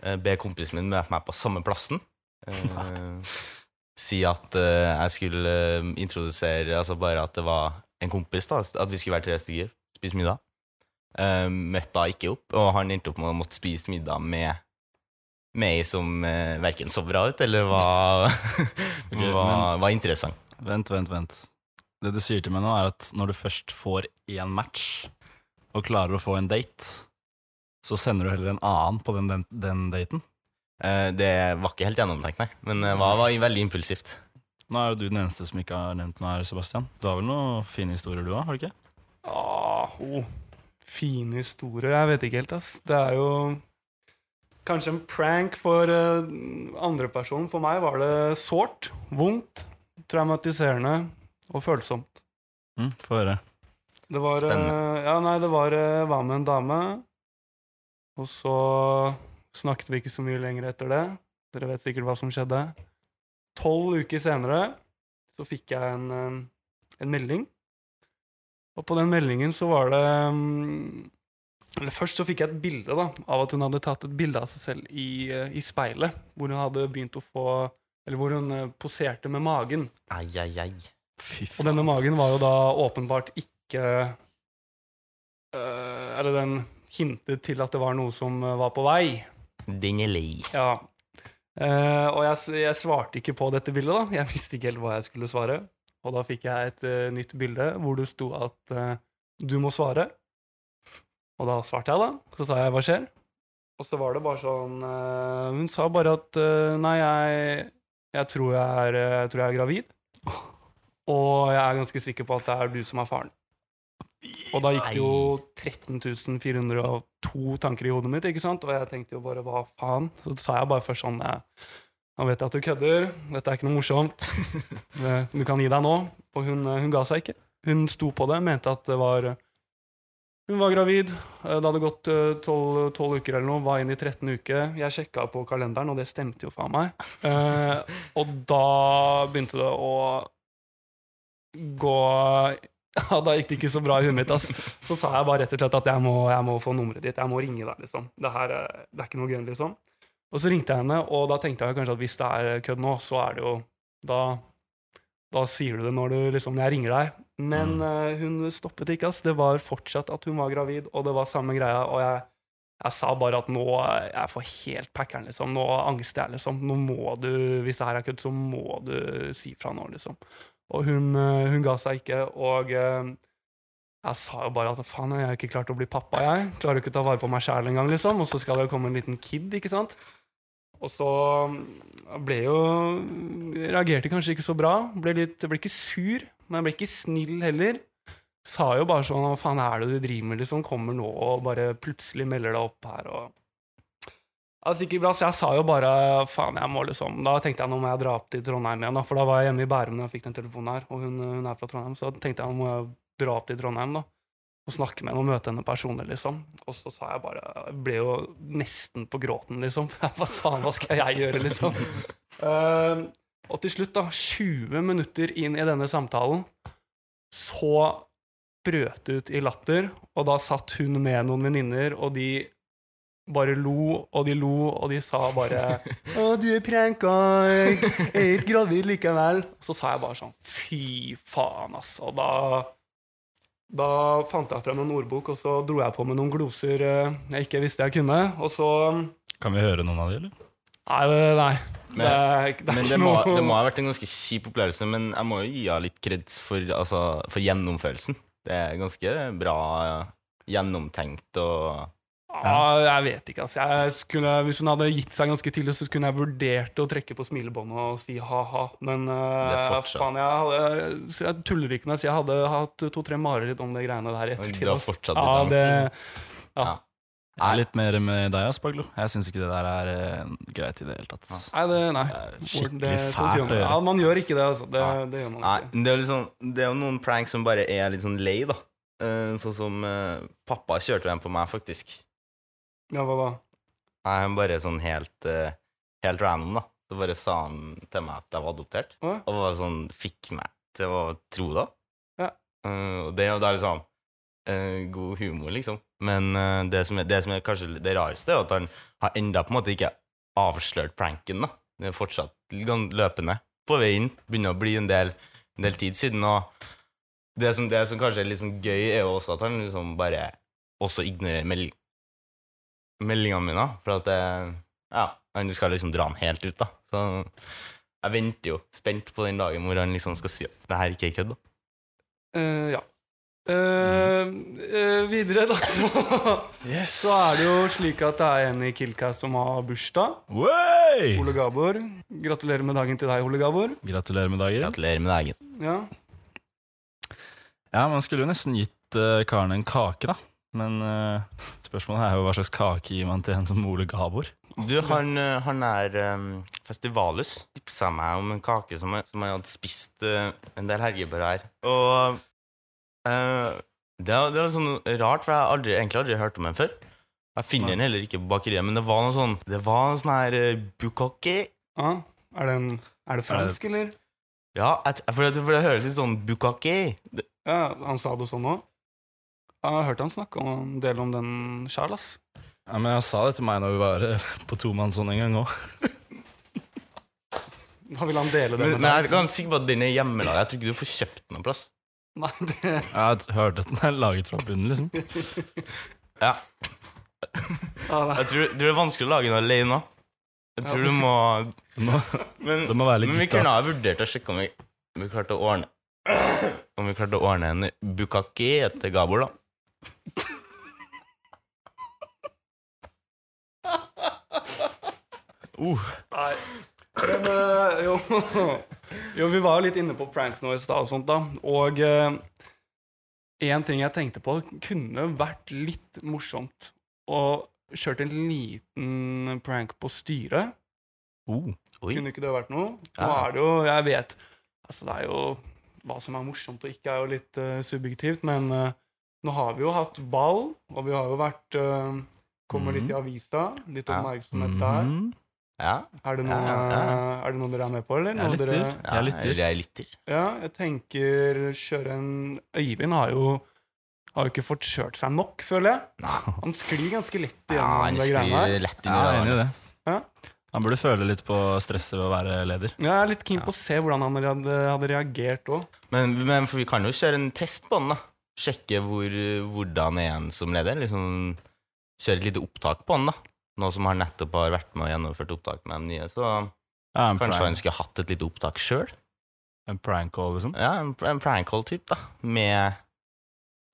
Speaker 6: eh, be kompisen min møte meg på samme plassen. Eh, si at eh, jeg skulle eh, introdusere Altså bare at det var en kompis, da. At vi skulle være tre stykker, spise middag. Eh, møtte da ikke opp, og han endte opp med å måtte spise middag med med ei som eh, verken så bra ut, eller var,
Speaker 5: men-
Speaker 6: var, var interessant.
Speaker 5: Vent, vent, vent. Det du sier til meg nå, er at når du først får én match, og klarer å få en date, så sender du heller en annen på den, den, den daten.
Speaker 6: Eh, det var ikke helt gjennomtenkt, nei, men det var, var veldig impulsivt.
Speaker 5: Nå er jo du den eneste som ikke har nevnt noe her, Sebastian. Du har vel noen fine historier, du òg? Har du ikke?
Speaker 4: Ah, oh. Fine historier. Jeg vet ikke helt, ass. Det er jo kanskje en prank for uh, andrepersonen. For meg var det sårt, vondt, traumatiserende og følsomt.
Speaker 5: Mm, Få høre.
Speaker 4: Det var, eh,
Speaker 6: Spennende.
Speaker 4: ja, nei, det var eh, var med en dame, og så snakket vi ikke så mye lenger etter det. Dere vet sikkert hva som skjedde. Tolv uker senere så fikk jeg en, eh, en melding, og på den meldingen så var det mm, eller Først så fikk jeg et bilde da, av at hun hadde tatt et bilde av seg selv i, eh, i speilet, hvor hun hadde begynt å få Eller hvor hun eh, poserte med magen.
Speaker 6: Ai, ai, ai.
Speaker 5: Fy
Speaker 4: Og denne magen var jo da åpenbart ikke øh, Eller den hintet til at det var noe som øh, var på vei.
Speaker 6: Den er lei.
Speaker 4: Ja. Eh, og jeg, s- jeg svarte ikke på dette bildet, da. Jeg visste ikke helt hva jeg skulle svare. Og da fikk jeg et eh, nytt bilde hvor det sto at eh, du må svare. Og da svarte jeg, da. Så sa jeg hva skjer? Og så var det bare sånn eh, Hun sa bare at eh, nei, jeg, jeg, tror jeg, er, eh, jeg tror jeg er gravid. Og jeg er ganske sikker på at det er du som er faren. Og da gikk det jo 13.402 tanker i hodet mitt, ikke sant? Og jeg tenkte jo bare hva faen? Så sa jeg bare først sånn eh, Nå vet jeg at du kødder, dette er ikke noe morsomt. Eh, Du kan gi deg nå. Og hun, eh, hun ga seg ikke. Hun sto på det, mente at det var eh, Hun var gravid. eh, Det hadde gått tolv uker eller noe, var inne i 13. uke. Jeg sjekka på kalenderen, og det stemte jo faen meg. Eh, Og da begynte det å gå ja, Da gikk det ikke så bra i huet mitt. ass. Så sa jeg bare rett og slett at jeg må, jeg må få nummeret ditt. Jeg må ringe deg, liksom. Det her eh, det er ikke noe gøy, liksom. Og så ringte jeg henne, og da tenkte jeg kanskje at hvis det er eh, kødd nå, så er det jo Da, da sier du det når du liksom når Jeg ringer deg. Men eh, hun stoppet ikke, ass. Det var fortsatt at hun var gravid, og det var samme greia, og jeg jeg sa bare at nå eh, jeg får helt packeren, liksom. Nå angster jeg, liksom. Nå må du, hvis det her er kødd, så må du si fra nå, liksom. Og hun, eh, hun ga seg ikke, og eh, jeg sa jo bare at faen, jeg har ikke klart å bli pappa, jeg. Klarer jo ikke å ta vare på meg sjæl engang, liksom. Og så skal det jo komme en liten kid, ikke sant. Og så mm, ble jo Reagerte kanskje ikke så bra. Ble litt, ble ikke sur, men jeg ble ikke snill heller. Sa jo bare sånn Hva faen er det du driver med, liksom? Kommer nå og bare plutselig melder deg opp her og Altså ikke bra, så jeg sa jo bare faen, jeg må liksom Da tenkte jeg nå må jeg dra opp til Trondheim igjen, da, for da var jeg hjemme i Bærum da jeg fikk den telefonen her, og hun, hun er fra Trondheim, så da tenkte jeg nå må jeg dra opp til Trondheim, da, og snakke med henne og møte henne personlig, liksom. Og så sa jeg bare Jeg ble jo nesten på gråten, liksom. Hva faen, hva skal jeg gjøre, liksom? Eh, og til slutt, da, 20 minutter inn i denne samtalen, så brøt ut i latter, og da satt hun med noen venninner, og de bare lo, og de lo, og de sa bare 'Å, du er pranka, jeg er ikke gravid likevel'. Og så sa jeg bare sånn 'fy faen', ass. Og da, da fant jeg frem en ordbok, og så dro jeg på med noen gloser eh, jeg ikke visste jeg kunne. Og så
Speaker 5: Kan vi høre noen av de, eller?
Speaker 4: Nei, det- nei. det, er,
Speaker 6: Men-
Speaker 4: ikke- det er
Speaker 6: Men
Speaker 4: ikke
Speaker 6: det må,
Speaker 4: noe
Speaker 6: det må ha vært en ganske kjip opplevelse, men jeg må jo gi henne litt kreds for, altså, for gjennomførelsen. Det er ganske bra gjennomtenkt og
Speaker 4: Ja, jeg vet ikke, ass. Jeg skulle, hvis hun hadde gitt seg ganske tidlig, så kunne jeg vurdert å trekke på smilebåndet og si ha-ha. Men eh,
Speaker 6: fortsatt.
Speaker 4: faen, jeg, hadde, så jeg tuller ikke når jeg sier jeg hadde hatt to-tre mareritt om det greiene der i
Speaker 6: Oi,
Speaker 4: ettertid.
Speaker 6: du har
Speaker 4: ass.
Speaker 6: fortsatt
Speaker 4: ja,
Speaker 6: litt
Speaker 4: det,
Speaker 6: angst,
Speaker 5: Jeg er litt mer med deg, ass, Baglo. Jeg syns ikke det der er eh, greit i det hele tatt.
Speaker 4: Nei, det, nei.
Speaker 5: skikkelig
Speaker 4: Det- sånt
Speaker 5: fælt
Speaker 4: gjør man.
Speaker 5: å gjøre.
Speaker 4: Ja, man gjør ikke det, altså. Det,
Speaker 6: Nei.
Speaker 4: det gjør man
Speaker 6: Nei,
Speaker 4: ikke.
Speaker 6: men det er, jo litt sånn- det er jo noen pranks som bare er litt sånn lei, da. Eh, Sånn som eh, pappa kjørte en på meg, faktisk.
Speaker 4: Ja, hva da?
Speaker 6: Nei, han bare sånn helt, eh, helt random, da. Så bare sa han til meg at jeg var adoptert,
Speaker 4: Å,
Speaker 6: og bare sånn fikk meg til å tro det.
Speaker 4: Ja.
Speaker 6: Eh, og det, er jo da liksom eh, god humor, liksom. Men eh, det, som er, det som er kanskje det rareste, er at han har enda på en måte ikke avslørt pranken, da. Den er fortsatt gan- løpende på veien. Begynner å bli en del, en del tid siden, og det som, det som kanskje er litt sånn gøy, er jo også at han liksom bare også ignorerer melding meldingene mine, for at jeg, ja, han skal liksom dra han helt ut, da. Så jeg venter jo spent på den dagen hvor han liksom skal si at det her ikke er kødd, da.
Speaker 4: Eh, ja. Eh,
Speaker 6: Mm.
Speaker 4: eh, videre, da, så,
Speaker 5: Yes!
Speaker 4: så er det jo slik at det er en i Killcast som har bursdag.
Speaker 5: Wey!
Speaker 4: Ole Gabor. Gratulerer med dagen til deg, Ole Gabor.
Speaker 5: Gratulerer med dagen.
Speaker 6: Gratulerer med dagen.
Speaker 4: Ja.
Speaker 5: Ja, man skulle jo nesten gitt eh, karen en kake, da. Men eh, spørsmålet er jo hva slags kake gir man til en som Ole Gabor?
Speaker 6: Du, han, eh, han er um, festivalus. Tipsa meg om en kake som, han- som han hadde spist eh, en del helgebær her. Og eh, det, er- det var sånn rart, for jeg har aldri, egentlig aldri hørt om den før. Jeg finner den heller ikke på bakeriet, men det var noe sånn Det var en sånn her uh, bukkake
Speaker 4: Ja. Er, det en, er det fransk, eller?
Speaker 6: Ja, jeg, t- for, det, for det høres litt sånn bukkake
Speaker 4: Ja, Han sa det sånn òg. Jeg har hørt han snakke om, en del om den sjæl, ass.
Speaker 5: Ja, men Jeg sa det til meg når vi var eh, på tomannshånd en gang òg.
Speaker 4: Da vil han dele det
Speaker 6: Men,
Speaker 4: med
Speaker 6: men jeg
Speaker 4: deg.
Speaker 6: er ganske sikker på at den er hjemmelaga. Jeg tror ikke du får kjøpt den noe plass.
Speaker 4: liksom? Nei, det,
Speaker 5: Jeg hørte at den er laget fra bunnen, liksom.
Speaker 6: Ja.
Speaker 4: ja, nei.
Speaker 6: Jeg tror, tror det er vanskelig å lage den alene òg. Jeg tror du må
Speaker 5: Det må,
Speaker 6: Men,
Speaker 5: det må være litt
Speaker 6: men vi
Speaker 5: gutta.
Speaker 6: kunne ha vurdert å sjekke om vi, om vi klarte å ordne Om vi klarte å ordne en bukkake til Gabor, da.
Speaker 4: Nei. Men eh, jo. jo, vi var jo litt inne på prank nå i stad og sånt, da. Og én ting jeg tenkte på, kunne vært litt morsomt å kjørt en liten prank på styret.
Speaker 5: Oh.
Speaker 6: Oi.
Speaker 4: Kunne ikke det vært noe? Nå
Speaker 6: Ja.
Speaker 4: er det jo, jeg vet Altså, det er jo Hva som er morsomt og ikke, er jo litt eh, subjektivt, men eh, nå har vi jo hatt ball, og vi har jo vært uh, Kommer litt i avisa. Litt
Speaker 6: Mhm. Ja. Mhm.
Speaker 4: oppmerksomhet der.
Speaker 5: Mm.
Speaker 6: Ja.
Speaker 4: Er det, noe,
Speaker 6: Ja, ja, ja.
Speaker 4: er det noe dere er med på, eller?
Speaker 5: Jeg
Speaker 4: Noe
Speaker 5: lytter.
Speaker 4: dere-
Speaker 6: ja.
Speaker 5: Jeg lytter.
Speaker 6: Jeg lytter.
Speaker 4: ja, jeg tenker kjøre en Øyvind har jo har jo ikke fått kjørt seg nok, føler jeg. Han sklir ganske lett
Speaker 6: Ja,
Speaker 4: igjennom
Speaker 6: han
Speaker 4: det greiene her.
Speaker 6: sklir lett
Speaker 5: Ja, jeg er enig i
Speaker 6: under.
Speaker 5: det.
Speaker 4: Ja.
Speaker 5: Han burde føle litt på stresset ved å være leder.
Speaker 4: Ja, jeg er litt keen på å se hvordan han hadde, hadde reagert òg.
Speaker 6: Men, men for vi kan jo kjøre en test på den, da. Sjekke hvor, hvordan er han som leder. Liksom kjøre et lite opptak på han, da. Nå som han nettopp har vært med og gjennomført opptak med de nye, så
Speaker 5: Ja, en,
Speaker 6: kanskje han
Speaker 5: prank,
Speaker 6: skulle hatt et lite opptak sjøl.
Speaker 5: en prank call, liksom.
Speaker 6: Ja, en, en prank call-type, da. Med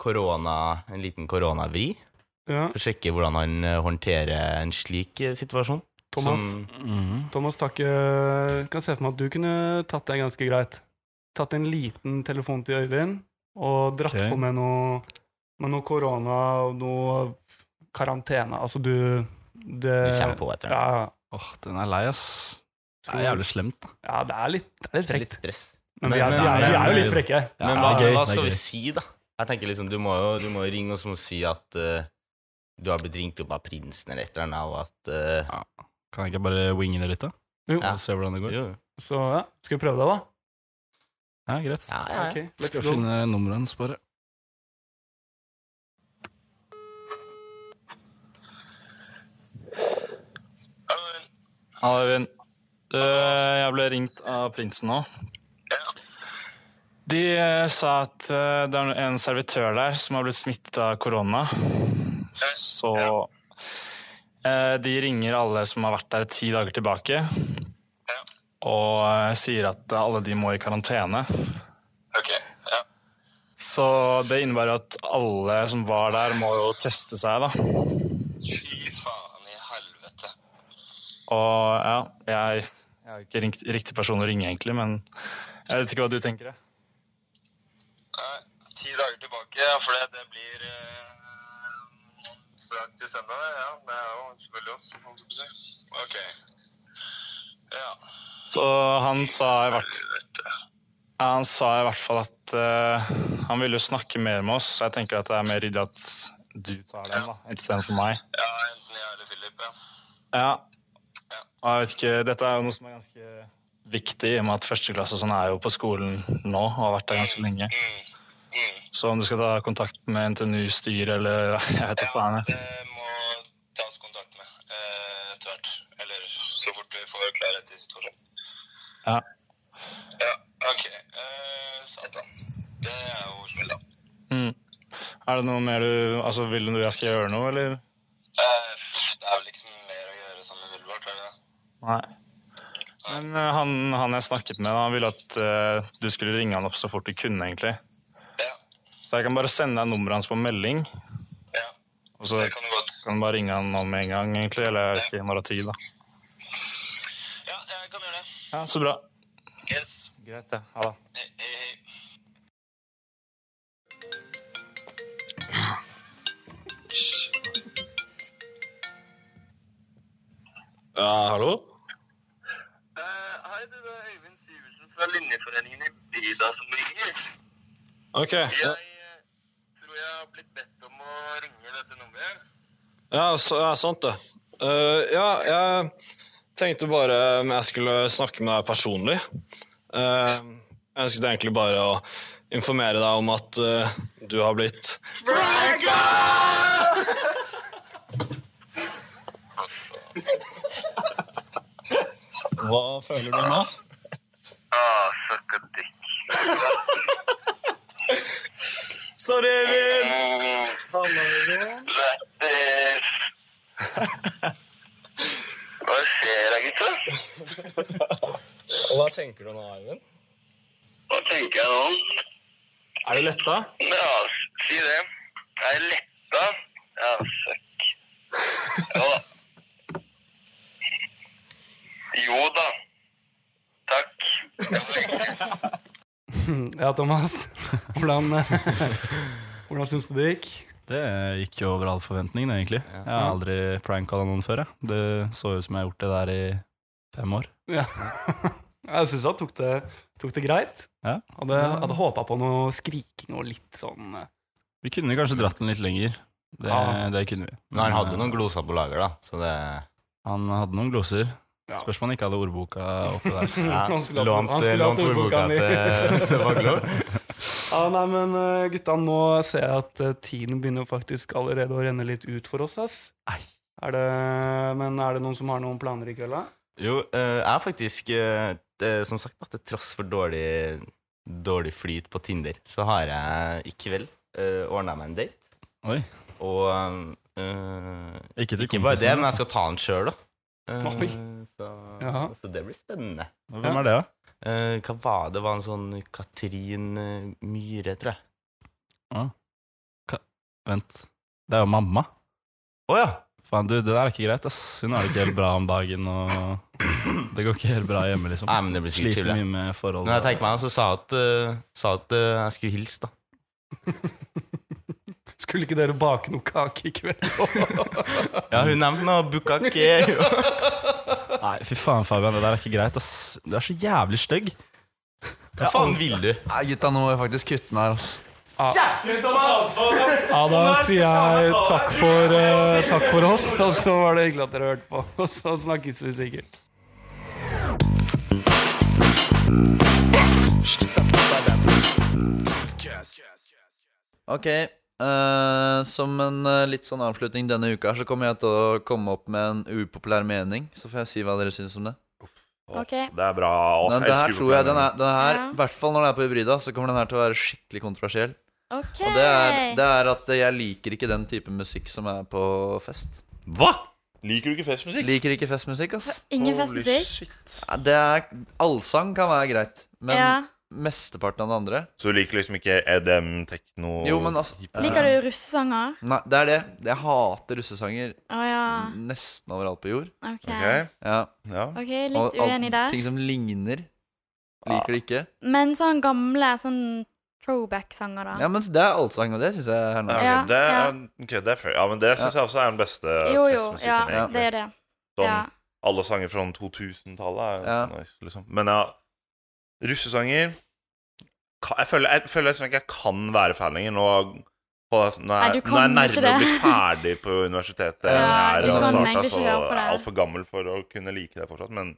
Speaker 6: korona, en liten koronavri.
Speaker 4: Ja.
Speaker 6: For å sjekke hvordan han eh, håndterer en slik eh, situasjon.
Speaker 4: Thomas,
Speaker 6: Som-
Speaker 5: Mhm.
Speaker 4: Thomas Takke, kan se for meg at du kunne tatt det ganske greit. Tatt en liten telefon til Øyvind og dratt
Speaker 5: Ok.
Speaker 4: på med noe, med noe korona og noe karantene. Altså, du det,
Speaker 6: vi kommer på
Speaker 5: Eh,
Speaker 6: etter det.
Speaker 4: ja,
Speaker 5: Åh, den er lei, ass. Det er jævlig slemt, da.
Speaker 4: ja, det er litt, det er litt frekt.
Speaker 6: Litt stress.
Speaker 4: Men vi er, vi er, vi er jo litt frekke.
Speaker 6: Men
Speaker 5: Ja,
Speaker 6: hva,
Speaker 5: det er gøy,
Speaker 6: hva
Speaker 5: det er
Speaker 6: skal vi
Speaker 5: gøy.
Speaker 6: si, da? Jeg tenker liksom, Du må jo du må jo ringe oss og si at eh, du har blitt ringt opp av prinsen eller et eller annet, og at eh,
Speaker 5: Kan jeg ikke bare winge det litt, da?
Speaker 4: Jo.
Speaker 5: Og se hvordan det går?
Speaker 6: jo.
Speaker 4: Så ja, skal vi prøve det, da?
Speaker 5: Ja, greit.
Speaker 6: Ja, ja, ja.
Speaker 4: Ok, let's
Speaker 5: Skal
Speaker 4: go.
Speaker 5: finne nummeret hans, bare. Alvin, eh, jeg ble ringt av prinsen nå. De eh, sa at eh, det er en servitør der som har blitt smittet av korona. Så eh, de ringer alle som har vært der ti dager tilbake, og eh, sier at alle de må i karantene.
Speaker 7: Ok, ja.
Speaker 5: Så det innebærer at alle som var der, må jo teste seg, da.
Speaker 7: Fy faen i helvete.
Speaker 5: Og ja, jeg, jeg er jo ikke ringt, riktig person å ringe, egentlig, men jeg vet ikke hva du tenker. jeg.
Speaker 7: Nei, ti dager tilbake, ja, for det, det blir eh, strakt i søndag, det, ja. Det er jo selvfølgelig oss, holdt jeg på å si. Ok. Ja.
Speaker 5: Så han sa i hvert
Speaker 7: Helvete.
Speaker 5: Ja, Han sa i hvert fall at eh, han ville jo snakke mer med oss. så Jeg tenker at det er mer ryddig at du tar den, da, istedenfor meg.
Speaker 7: Ja, enten jeg eller Philip, ja.
Speaker 5: Ja. Og jeg vet ikke, Dette er jo noe som er ganske viktig, i og med at førsteklasse og sånn er jo på skolen nå og har vært der ganske lenge.
Speaker 7: Mm. Mm.
Speaker 5: Så om du skal ta kontakt med NTNU-styret eller jeg vet ikke faen jeg.
Speaker 7: Det må tas kontakt med eh, etter hvert. Eller så fort vi får klarhet i situasjonen.
Speaker 5: Ja.
Speaker 7: Ja, OK. Eh, Satan. Det er jo smell, da.
Speaker 5: Mm. Er det noe mer du altså Vil du jeg skal gjøre noe, eller?
Speaker 7: Eh, det er vel liksom mer å gjøre sånn umiddelbart, er det det?
Speaker 5: Nei. Men eh, han, han jeg snakket med, han ville at eh, du skulle ringe han opp så fort du kunne, egentlig.
Speaker 7: Ja.
Speaker 5: Så jeg kan bare sende deg nummeret hans på melding,
Speaker 7: Ja,
Speaker 5: og så
Speaker 7: det kan du godt.
Speaker 5: kan du bare ringe han om en gang, egentlig. Eller jeg vet ikke når det er tid, da.
Speaker 7: Ja, jeg kan gjøre det.
Speaker 5: Ja, så bra.
Speaker 7: Yes.
Speaker 5: Greit, det. Ha det.
Speaker 7: Hei, hei, hei.
Speaker 5: Ja, hallo?
Speaker 7: Eh, hei, du, det er Øyvind Sivertsen fra Linjeforeningen i Bida som ringer.
Speaker 5: Ok.
Speaker 7: Jeg eh, tror jeg har blitt bedt om å ringe dette nummeret.
Speaker 5: Ja, så, ja sant det. Eh, ja, jeg tenkte bare om jeg skulle snakke med deg personlig. Eh, jeg ønsket egentlig bare å informere deg om at eh, du har blitt Hva føler du nå?
Speaker 7: Ah, suck a dick.
Speaker 5: Sorry, Evin!
Speaker 7: Lættis! Hva skjer da, gutta?
Speaker 5: Hva tenker du nå, Eivind?
Speaker 7: Hva tenker jeg nå?
Speaker 5: Er du letta?
Speaker 7: Ja, si det. Jeg er letta. Ja, fuck. Jo da. Jo da. Takk. Det var egentlig
Speaker 4: Ja, Thomas. Hvordan, hvordan syns du det gikk?
Speaker 5: Det gikk jo over all forventning, egentlig. Jeg har aldri prankcalla noen før. Jeg. Det så ut som jeg har gjort det der i fem år.
Speaker 4: Ja. Jeg syns han tok det, tok det greit.
Speaker 5: Ja.
Speaker 4: Hadde, hadde håpa på noe skriking og litt sånn eh,
Speaker 5: Vi kunne kanskje dratt den litt lenger. Det,
Speaker 4: Ja.
Speaker 5: det kunne vi. eh,
Speaker 6: Men han hadde jo noen gloser på lager, da, så det
Speaker 5: Han hadde noen gloser.
Speaker 4: Ja.
Speaker 5: Spørs om han ikke hadde ordboka oppe der.
Speaker 6: ja,
Speaker 4: Han skulle hatt-
Speaker 6: Lånt
Speaker 4: han skulle hatt
Speaker 6: lånt ordboka
Speaker 4: ordboka mi.
Speaker 6: til til Vaglo.
Speaker 4: Ja, nei, men eh, gutta, nå ser jeg at eh, tiden begynner faktisk allerede å renne litt ut for oss, ass. Er det, men er det noen som har noen planer i kølla?
Speaker 6: Jo, eh, jeg er faktisk eh, det- Som sagt, da, til tross for dårlig, dårlig flyt på Tinder, så har jeg i kveld uh, ordna meg en date.
Speaker 5: Oi.
Speaker 6: Og eh,
Speaker 5: Ikke til
Speaker 6: ikke bare
Speaker 5: kompisen,
Speaker 6: det,
Speaker 5: altså.
Speaker 6: men jeg skal ta den sjøl, da. Eh,
Speaker 4: Oi.
Speaker 6: så,
Speaker 4: Jaha.
Speaker 6: så det blir spennende.
Speaker 5: altså. Hvem er det, da?
Speaker 6: Eh, hva var det? Det var en sånn Katrin eh, Myhre, tror jeg.
Speaker 5: Vent. Det er jo mamma.
Speaker 6: Å ja!
Speaker 5: Faen, du, det der er ikke greit, ass. Hun har det ikke helt bra om dagen, og det går ikke helt bra hjemme, liksom.
Speaker 6: Nei, men det blir sikkert
Speaker 5: Sliter
Speaker 6: trivelig.
Speaker 5: mye med forhold.
Speaker 6: Når jeg tenker meg om, så sa jeg at, eh, sa at eh, jeg skulle hilse, da.
Speaker 4: Skulle ikke dere bake noe kake i kveld?
Speaker 6: Ja, hun nevnte noe bukkake.
Speaker 5: Nei, fy faen, Fabian, det der er ikke greit, ass. Du er så jævlig stygg.
Speaker 6: Hva faen vil du?
Speaker 2: Nei, gutta, nå må jeg faktisk kutte den her, altså.
Speaker 4: ja, da sier jeg takk for, eh, takk for oss, altså. og så var det hyggelig at dere hørte på. Og så snakkes vi sikkert.
Speaker 2: Ok, Eh, som en eh, litt sånn avslutning denne uka her, så kommer jeg til å komme opp med en upopulær mening. Så får jeg si hva dere syns om det.
Speaker 1: Å,
Speaker 3: Ok.
Speaker 1: Det er bra. Å,
Speaker 2: Den,
Speaker 1: jeg
Speaker 2: det her
Speaker 1: elsker
Speaker 2: tror jeg den
Speaker 1: Ukraina.
Speaker 2: er, den her,
Speaker 3: Ja.
Speaker 2: I hvert fall når det er på hybrida, så kommer den her til å være skikkelig kontroversiell.
Speaker 3: OK.
Speaker 2: Og det er, det er at jeg liker ikke den type musikk som er på fest.
Speaker 1: Hva?! Liker du ikke festmusikk?
Speaker 2: Liker ikke festmusikk, ass.
Speaker 3: Ingen
Speaker 1: Holy
Speaker 3: festmusikk.
Speaker 1: shit.
Speaker 2: Ja, Det er, allsang kan være greit, men
Speaker 3: Ja.
Speaker 2: mesteparten av det andre
Speaker 1: Så du liker liksom ikke EDM, tekno
Speaker 2: Jo, men altså-
Speaker 1: hiphop?
Speaker 3: Liker du russesanger?
Speaker 2: Nei, det er det. Jeg hater russesanger
Speaker 3: Å ja.
Speaker 2: nesten overalt på jord.
Speaker 3: OK.
Speaker 1: Ok,
Speaker 2: Ja,
Speaker 1: ja.
Speaker 3: OK,
Speaker 2: og
Speaker 3: litt
Speaker 2: alt-
Speaker 3: uenig der.
Speaker 2: Ting som ligner, liker det ikke.
Speaker 3: Men sånn gamle sånn throwback-sanger, da.
Speaker 2: Ja, men det er allsang, og det syns jeg er
Speaker 1: Ja,
Speaker 2: nice.
Speaker 1: ok,
Speaker 3: Ja,
Speaker 1: det,
Speaker 3: ja.
Speaker 1: er, ok, det er fair. Ja, men det syns jeg også er den beste
Speaker 3: jo, jo. Ja,
Speaker 1: festmusikken, egentlig.
Speaker 3: det er det.
Speaker 1: Sånn,
Speaker 3: Ja.
Speaker 1: Alle sanger fra 2000-tallet er jo
Speaker 2: Ja.
Speaker 1: så nice, liksom. Men ja, russesanger ka- Jeg føler, jeg føler liksom ikke jeg kan være fan lenger. Nå, på, nå
Speaker 3: Nei,
Speaker 1: er
Speaker 3: du
Speaker 1: nå er jeg
Speaker 3: kan ikke
Speaker 1: nærmere å
Speaker 3: det.
Speaker 1: bli ferdig på universitetet. enn
Speaker 3: Ja,
Speaker 1: jeg
Speaker 2: du
Speaker 1: er og
Speaker 2: kan
Speaker 1: starta,
Speaker 3: egentlig ikke
Speaker 1: så jeg
Speaker 3: høre på
Speaker 1: er
Speaker 3: det.
Speaker 1: altfor gammel for å kunne like det fortsatt. Men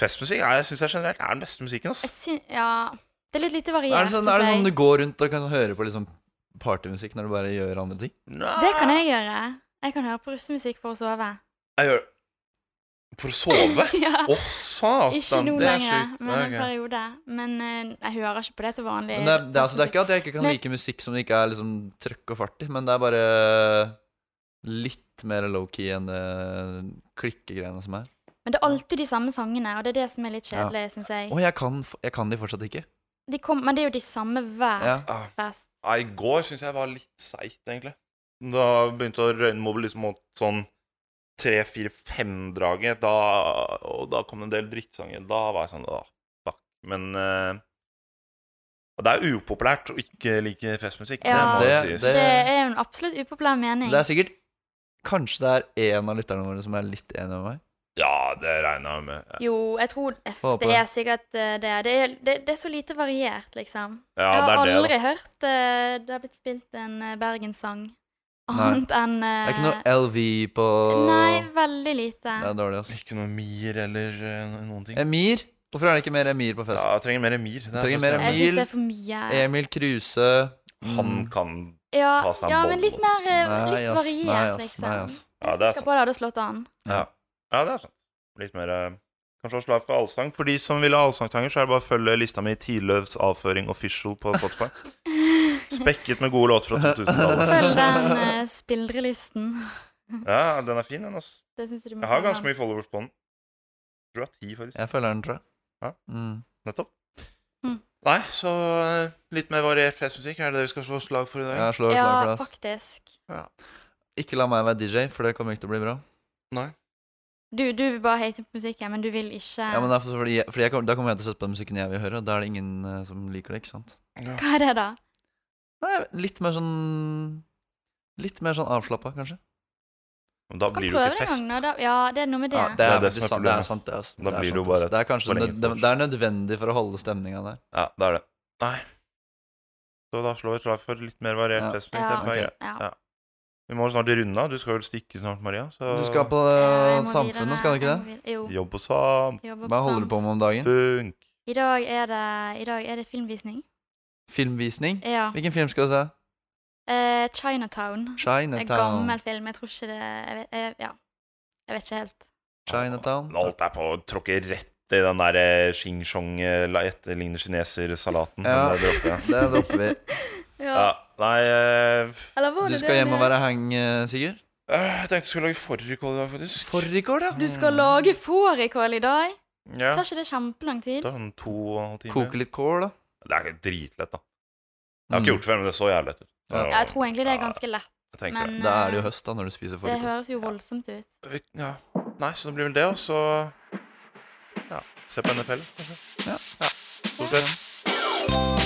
Speaker 1: festmusikk jeg syns jeg generelt er den beste musikken.
Speaker 3: Jeg
Speaker 1: Ass.
Speaker 3: syn- ja. Det er litt lite variert,
Speaker 2: Er det, sånn,
Speaker 3: synes
Speaker 2: er det sånn du
Speaker 3: jeg.
Speaker 2: går rundt og kan høre på liksom partymusikk når du bare gjør andre ting?
Speaker 3: Det kan jeg gjøre. Jeg kan høre på russemusikk for å sove.
Speaker 1: Jeg gjør For å sove?
Speaker 3: ja.
Speaker 1: Å, satan!
Speaker 3: Ikke nå
Speaker 1: det er
Speaker 3: lenger,
Speaker 1: sjukt.
Speaker 3: men en
Speaker 1: Ok.
Speaker 3: periode. Men eh, jeg hører ikke på det til vanlig.
Speaker 2: Men det, er- det, er- altså, det er ikke at jeg ikke kan
Speaker 3: Men-
Speaker 2: like musikk som det ikke er liksom trøkk og fart i, men det er bare litt mer low-key enn det klikkegreiene som er.
Speaker 3: Men det er alltid de samme sangene, og det er det som er litt kjedelig, synes syns jeg.
Speaker 2: Å, jeg kan, f- jeg kan de fortsatt ikke.
Speaker 3: De kom, men det er jo de samme hver
Speaker 2: Ja.
Speaker 1: Ah.
Speaker 3: fest.
Speaker 1: Ja, I går syns jeg var litt seigt, egentlig. Da begynte å røyne mobile liksom mot sånn tre-fire-fem-draget, da, og da kom det en del drittsanger. Da var jeg sånn Åh, fuck. Men eh, og Det er upopulært å ikke like festmusikk.
Speaker 3: Ja.
Speaker 1: det må
Speaker 2: Det-
Speaker 1: jo sies.
Speaker 3: Det er jo en absolutt upopulær mening.
Speaker 2: Det er sikkert Kanskje det er én av lytterne våre som er litt enig med meg.
Speaker 1: Ja, det regner jeg med.
Speaker 3: Jo, jeg tror eh,
Speaker 2: Får håpe
Speaker 3: det er sikkert eh, det. Det er, det, det er så lite variert, liksom.
Speaker 1: Ja,
Speaker 3: jeg
Speaker 1: det
Speaker 3: har
Speaker 1: er det, da.
Speaker 3: aldri hørt eh, det har blitt spilt en eh, Bergenssang
Speaker 2: Nei.
Speaker 3: annet enn
Speaker 2: Det er ikke
Speaker 3: eh,
Speaker 2: noe LV på
Speaker 3: Nei, veldig lite.
Speaker 2: Det er dårlig, altså.
Speaker 1: Ikke noe mir eller eh, noen ting.
Speaker 2: Emir? Hvorfor er det ikke mer Emir på
Speaker 1: Ja,
Speaker 2: fest?
Speaker 1: jeg trenger mer mir. Det er
Speaker 2: Trenger
Speaker 1: faktisk
Speaker 2: mer
Speaker 1: det.
Speaker 3: Jeg
Speaker 2: mir.
Speaker 3: syns det er for mye.
Speaker 2: Emil Kruse Mm.
Speaker 1: Han kan
Speaker 3: Ja,
Speaker 1: ta seg en
Speaker 3: ja
Speaker 1: bolle.
Speaker 3: men litt mer eh,
Speaker 2: Nei,
Speaker 3: litt
Speaker 2: ass.
Speaker 3: variert,
Speaker 2: Nei, ass.
Speaker 3: liksom.
Speaker 2: Nei, ass.
Speaker 1: Ja,
Speaker 3: Jeg
Speaker 1: det
Speaker 3: er
Speaker 1: er
Speaker 3: sikker på det hadde slått an.
Speaker 1: Ja. ja, det er sant. Litt mer eh, Kanskje å slå av for allsang. For de som vil ha allsangsanger, så er det bare å følge lista mi Tidløvs avføring official på Spotify. Spekket med gode låter fra 2000-tallet.
Speaker 3: Følg den uh, spillrelisten.
Speaker 1: Ja, den er fin, den, altså.
Speaker 3: Det syns jeg du må
Speaker 1: Jeg har
Speaker 3: følge.
Speaker 1: ganske mye followers på den. Jeg tror jeg har ti, faktisk.
Speaker 2: Jeg følger den, tror jeg.
Speaker 1: Ja.
Speaker 2: Mm.
Speaker 1: Nettopp.
Speaker 3: Mm.
Speaker 1: Nei, så eh, litt mer variert festmusikk er det det vi skal slå slag for i dag.
Speaker 2: Jeg slår et slag for
Speaker 3: Ja,
Speaker 2: det. ass.
Speaker 3: faktisk.
Speaker 2: Ikke la meg være DJ, for det kommer ikke til å bli bra.
Speaker 3: Du, du vil bare hate på musikken, men du vil ikke
Speaker 2: Ja, men det er for- fordi jeg, fordi jeg kommer, Da kommer jeg til å sette på den musikken jeg vil høre, og da er det ingen eh, som liker det, ikke sant?
Speaker 3: Hva er det, da?
Speaker 2: Nei, litt mer sånn Litt mer sånn avslappa, kanskje.
Speaker 1: Men Da
Speaker 3: Du kan
Speaker 1: blir det jo
Speaker 3: prøve
Speaker 1: ikke
Speaker 3: det en gang.
Speaker 1: fest.
Speaker 3: nå, Da. Ja, det er noe med det.
Speaker 2: Ja,
Speaker 3: det.
Speaker 2: det, er
Speaker 1: Det er det
Speaker 2: faktisk
Speaker 1: som er
Speaker 2: sant, det er
Speaker 1: problemet.
Speaker 2: sant, det. Altså.
Speaker 1: Da
Speaker 2: det er
Speaker 1: blir det jo
Speaker 2: sant,
Speaker 1: bare
Speaker 2: ass. Det er kanskje
Speaker 1: forlenget
Speaker 2: nød, det, det er nødvendig for å holde stemninga der.
Speaker 1: Ja, det er det. Nei. Så da slår vi et slag for litt mer variert
Speaker 2: Ja.
Speaker 1: festmusikk.
Speaker 3: Ja,
Speaker 1: det er feil.
Speaker 3: ok, ja.
Speaker 1: Ja. Vi må snart runde av. Du skal vel stikke snart, Maria. Så
Speaker 2: Du skal på eh,
Speaker 3: Ja, jeg må videre.
Speaker 2: Samfunnet, skal du ikke
Speaker 3: Jeg
Speaker 2: det?
Speaker 3: må videre. Jo.
Speaker 1: jobb og sam.
Speaker 3: Jobber
Speaker 2: Hva holder du på med om dagen?
Speaker 1: Funk.
Speaker 3: I dag er det, i dag er det filmvisning.
Speaker 2: Filmvisning?
Speaker 3: Ja.
Speaker 2: Hvilken film skal du se?
Speaker 3: Eh, Chinatown. En
Speaker 2: Chinatown.
Speaker 3: gammel film. Jeg tror ikke det jeg vet, jeg, Ja. Jeg vet ikke helt.
Speaker 2: Chinatown.
Speaker 1: Alt er på å tråkke rett i den der eh, shing-shong eh, la- etterligner kineser-salaten.
Speaker 2: Ja.
Speaker 1: men det dropper jeg.
Speaker 2: Det dropper vi.
Speaker 3: Ja.
Speaker 1: Ja, nei eh,
Speaker 3: Eller
Speaker 2: Du
Speaker 3: var det
Speaker 2: skal
Speaker 3: det
Speaker 2: hjem og
Speaker 3: det-
Speaker 2: være hang, eh, Sigurd?
Speaker 1: øh, Jeg tenkte jeg skulle lage fårikål i dag, faktisk.
Speaker 2: Fårikål, ja.
Speaker 3: Du skal lage fårikål i dag?
Speaker 1: Ja.
Speaker 3: Tar ikke det kjempelang
Speaker 1: Det
Speaker 3: tid?
Speaker 1: er sånn to og en halv time.
Speaker 2: Koke litt kål, da.
Speaker 1: Det er ikke dritlett, da. Jeg har ikke
Speaker 2: Mm.
Speaker 1: gjort det før, men det så jævlig lett ut.
Speaker 2: Ja.
Speaker 3: Ja, jeg tror egentlig det er ganske lett,
Speaker 1: Jeg tenker
Speaker 3: men
Speaker 2: Mm. Da er det jo
Speaker 3: eh,
Speaker 2: høst, da, når du spiser
Speaker 3: det
Speaker 2: fårikål.
Speaker 3: høres jo voldsomt ut.
Speaker 1: det. Vi- Ja. Nei, så det blir vel det, og så Ja, se på NFL, kanskje.
Speaker 2: Ja.
Speaker 1: Stort sett.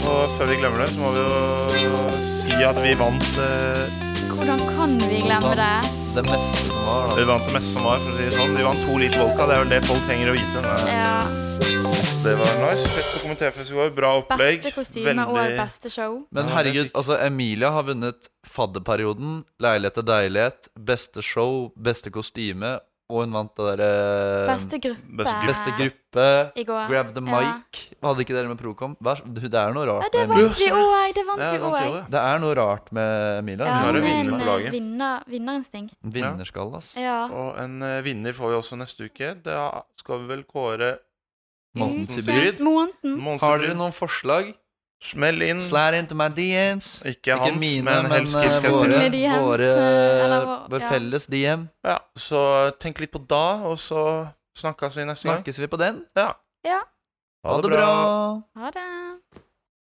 Speaker 1: Og før vi glemmer det, så må vi jo si at vi vant eh,
Speaker 3: Hvordan kan vi glemme det?
Speaker 2: Det meste som var, da.
Speaker 1: Vi vant det meste som var. for å si det sånn. Vi vant to liter vodka. Det er vel det folk trenger å vite. Nei,
Speaker 3: Ja,
Speaker 1: Så det var nice. Fett på kommenterfest i går. Bra opplegg.
Speaker 3: beste kostyme og
Speaker 1: Veldig-
Speaker 3: beste show.
Speaker 2: Men
Speaker 1: Ja,
Speaker 2: herregud,
Speaker 1: det fikk-
Speaker 2: altså Emilia har vunnet fadderperioden, leilighet til deilighet, beste show, beste kostyme Og hun vant det derre
Speaker 3: Beste gruppe.
Speaker 1: Beste gruppe.
Speaker 2: beste gruppe.
Speaker 3: I går.
Speaker 2: Grab the
Speaker 3: eh, Ja.
Speaker 2: mic. Hadde ikke dere med Procom? Hva er- Det er noe
Speaker 3: Ja,
Speaker 2: rart
Speaker 3: det
Speaker 2: med Emilia.
Speaker 3: vant vi òg. Det vant
Speaker 1: Ja,
Speaker 3: vi
Speaker 1: jeg vant i år,
Speaker 3: òg.
Speaker 1: ja.
Speaker 2: Det er noe rart med Emilia.
Speaker 3: Ja,
Speaker 1: Hun
Speaker 3: hun
Speaker 1: er
Speaker 3: er
Speaker 1: en vinner på
Speaker 3: en eh,
Speaker 1: laget.
Speaker 3: vinner, vinnerinstinkt.
Speaker 2: Hun er Vinnerskalle, altså.
Speaker 3: Ja.
Speaker 1: Og en eh, vinner får vi også neste uke. Da skal vi vel kåre
Speaker 2: Måten
Speaker 1: Ukens
Speaker 2: Sybrid.
Speaker 1: Sybrid.
Speaker 3: Måneden.
Speaker 1: Monsen
Speaker 2: Har dere
Speaker 1: Brun.
Speaker 2: noen forslag?
Speaker 1: Smell inn.
Speaker 2: Slide into my DMs.
Speaker 1: Ikke hans,
Speaker 2: mine,
Speaker 1: men helst
Speaker 2: eh,
Speaker 1: Kirsten
Speaker 2: våre,
Speaker 1: sine.
Speaker 3: Med DMs,
Speaker 2: våre,
Speaker 3: eh, eller vår-
Speaker 2: vår
Speaker 3: ja.
Speaker 2: felles DM.
Speaker 1: Ja, så tenk litt på da, og så snakkes vi neste gang.
Speaker 2: Snakkes vi på den?
Speaker 1: Ja.
Speaker 3: Ja.
Speaker 2: Ha det bra.
Speaker 3: Ha det.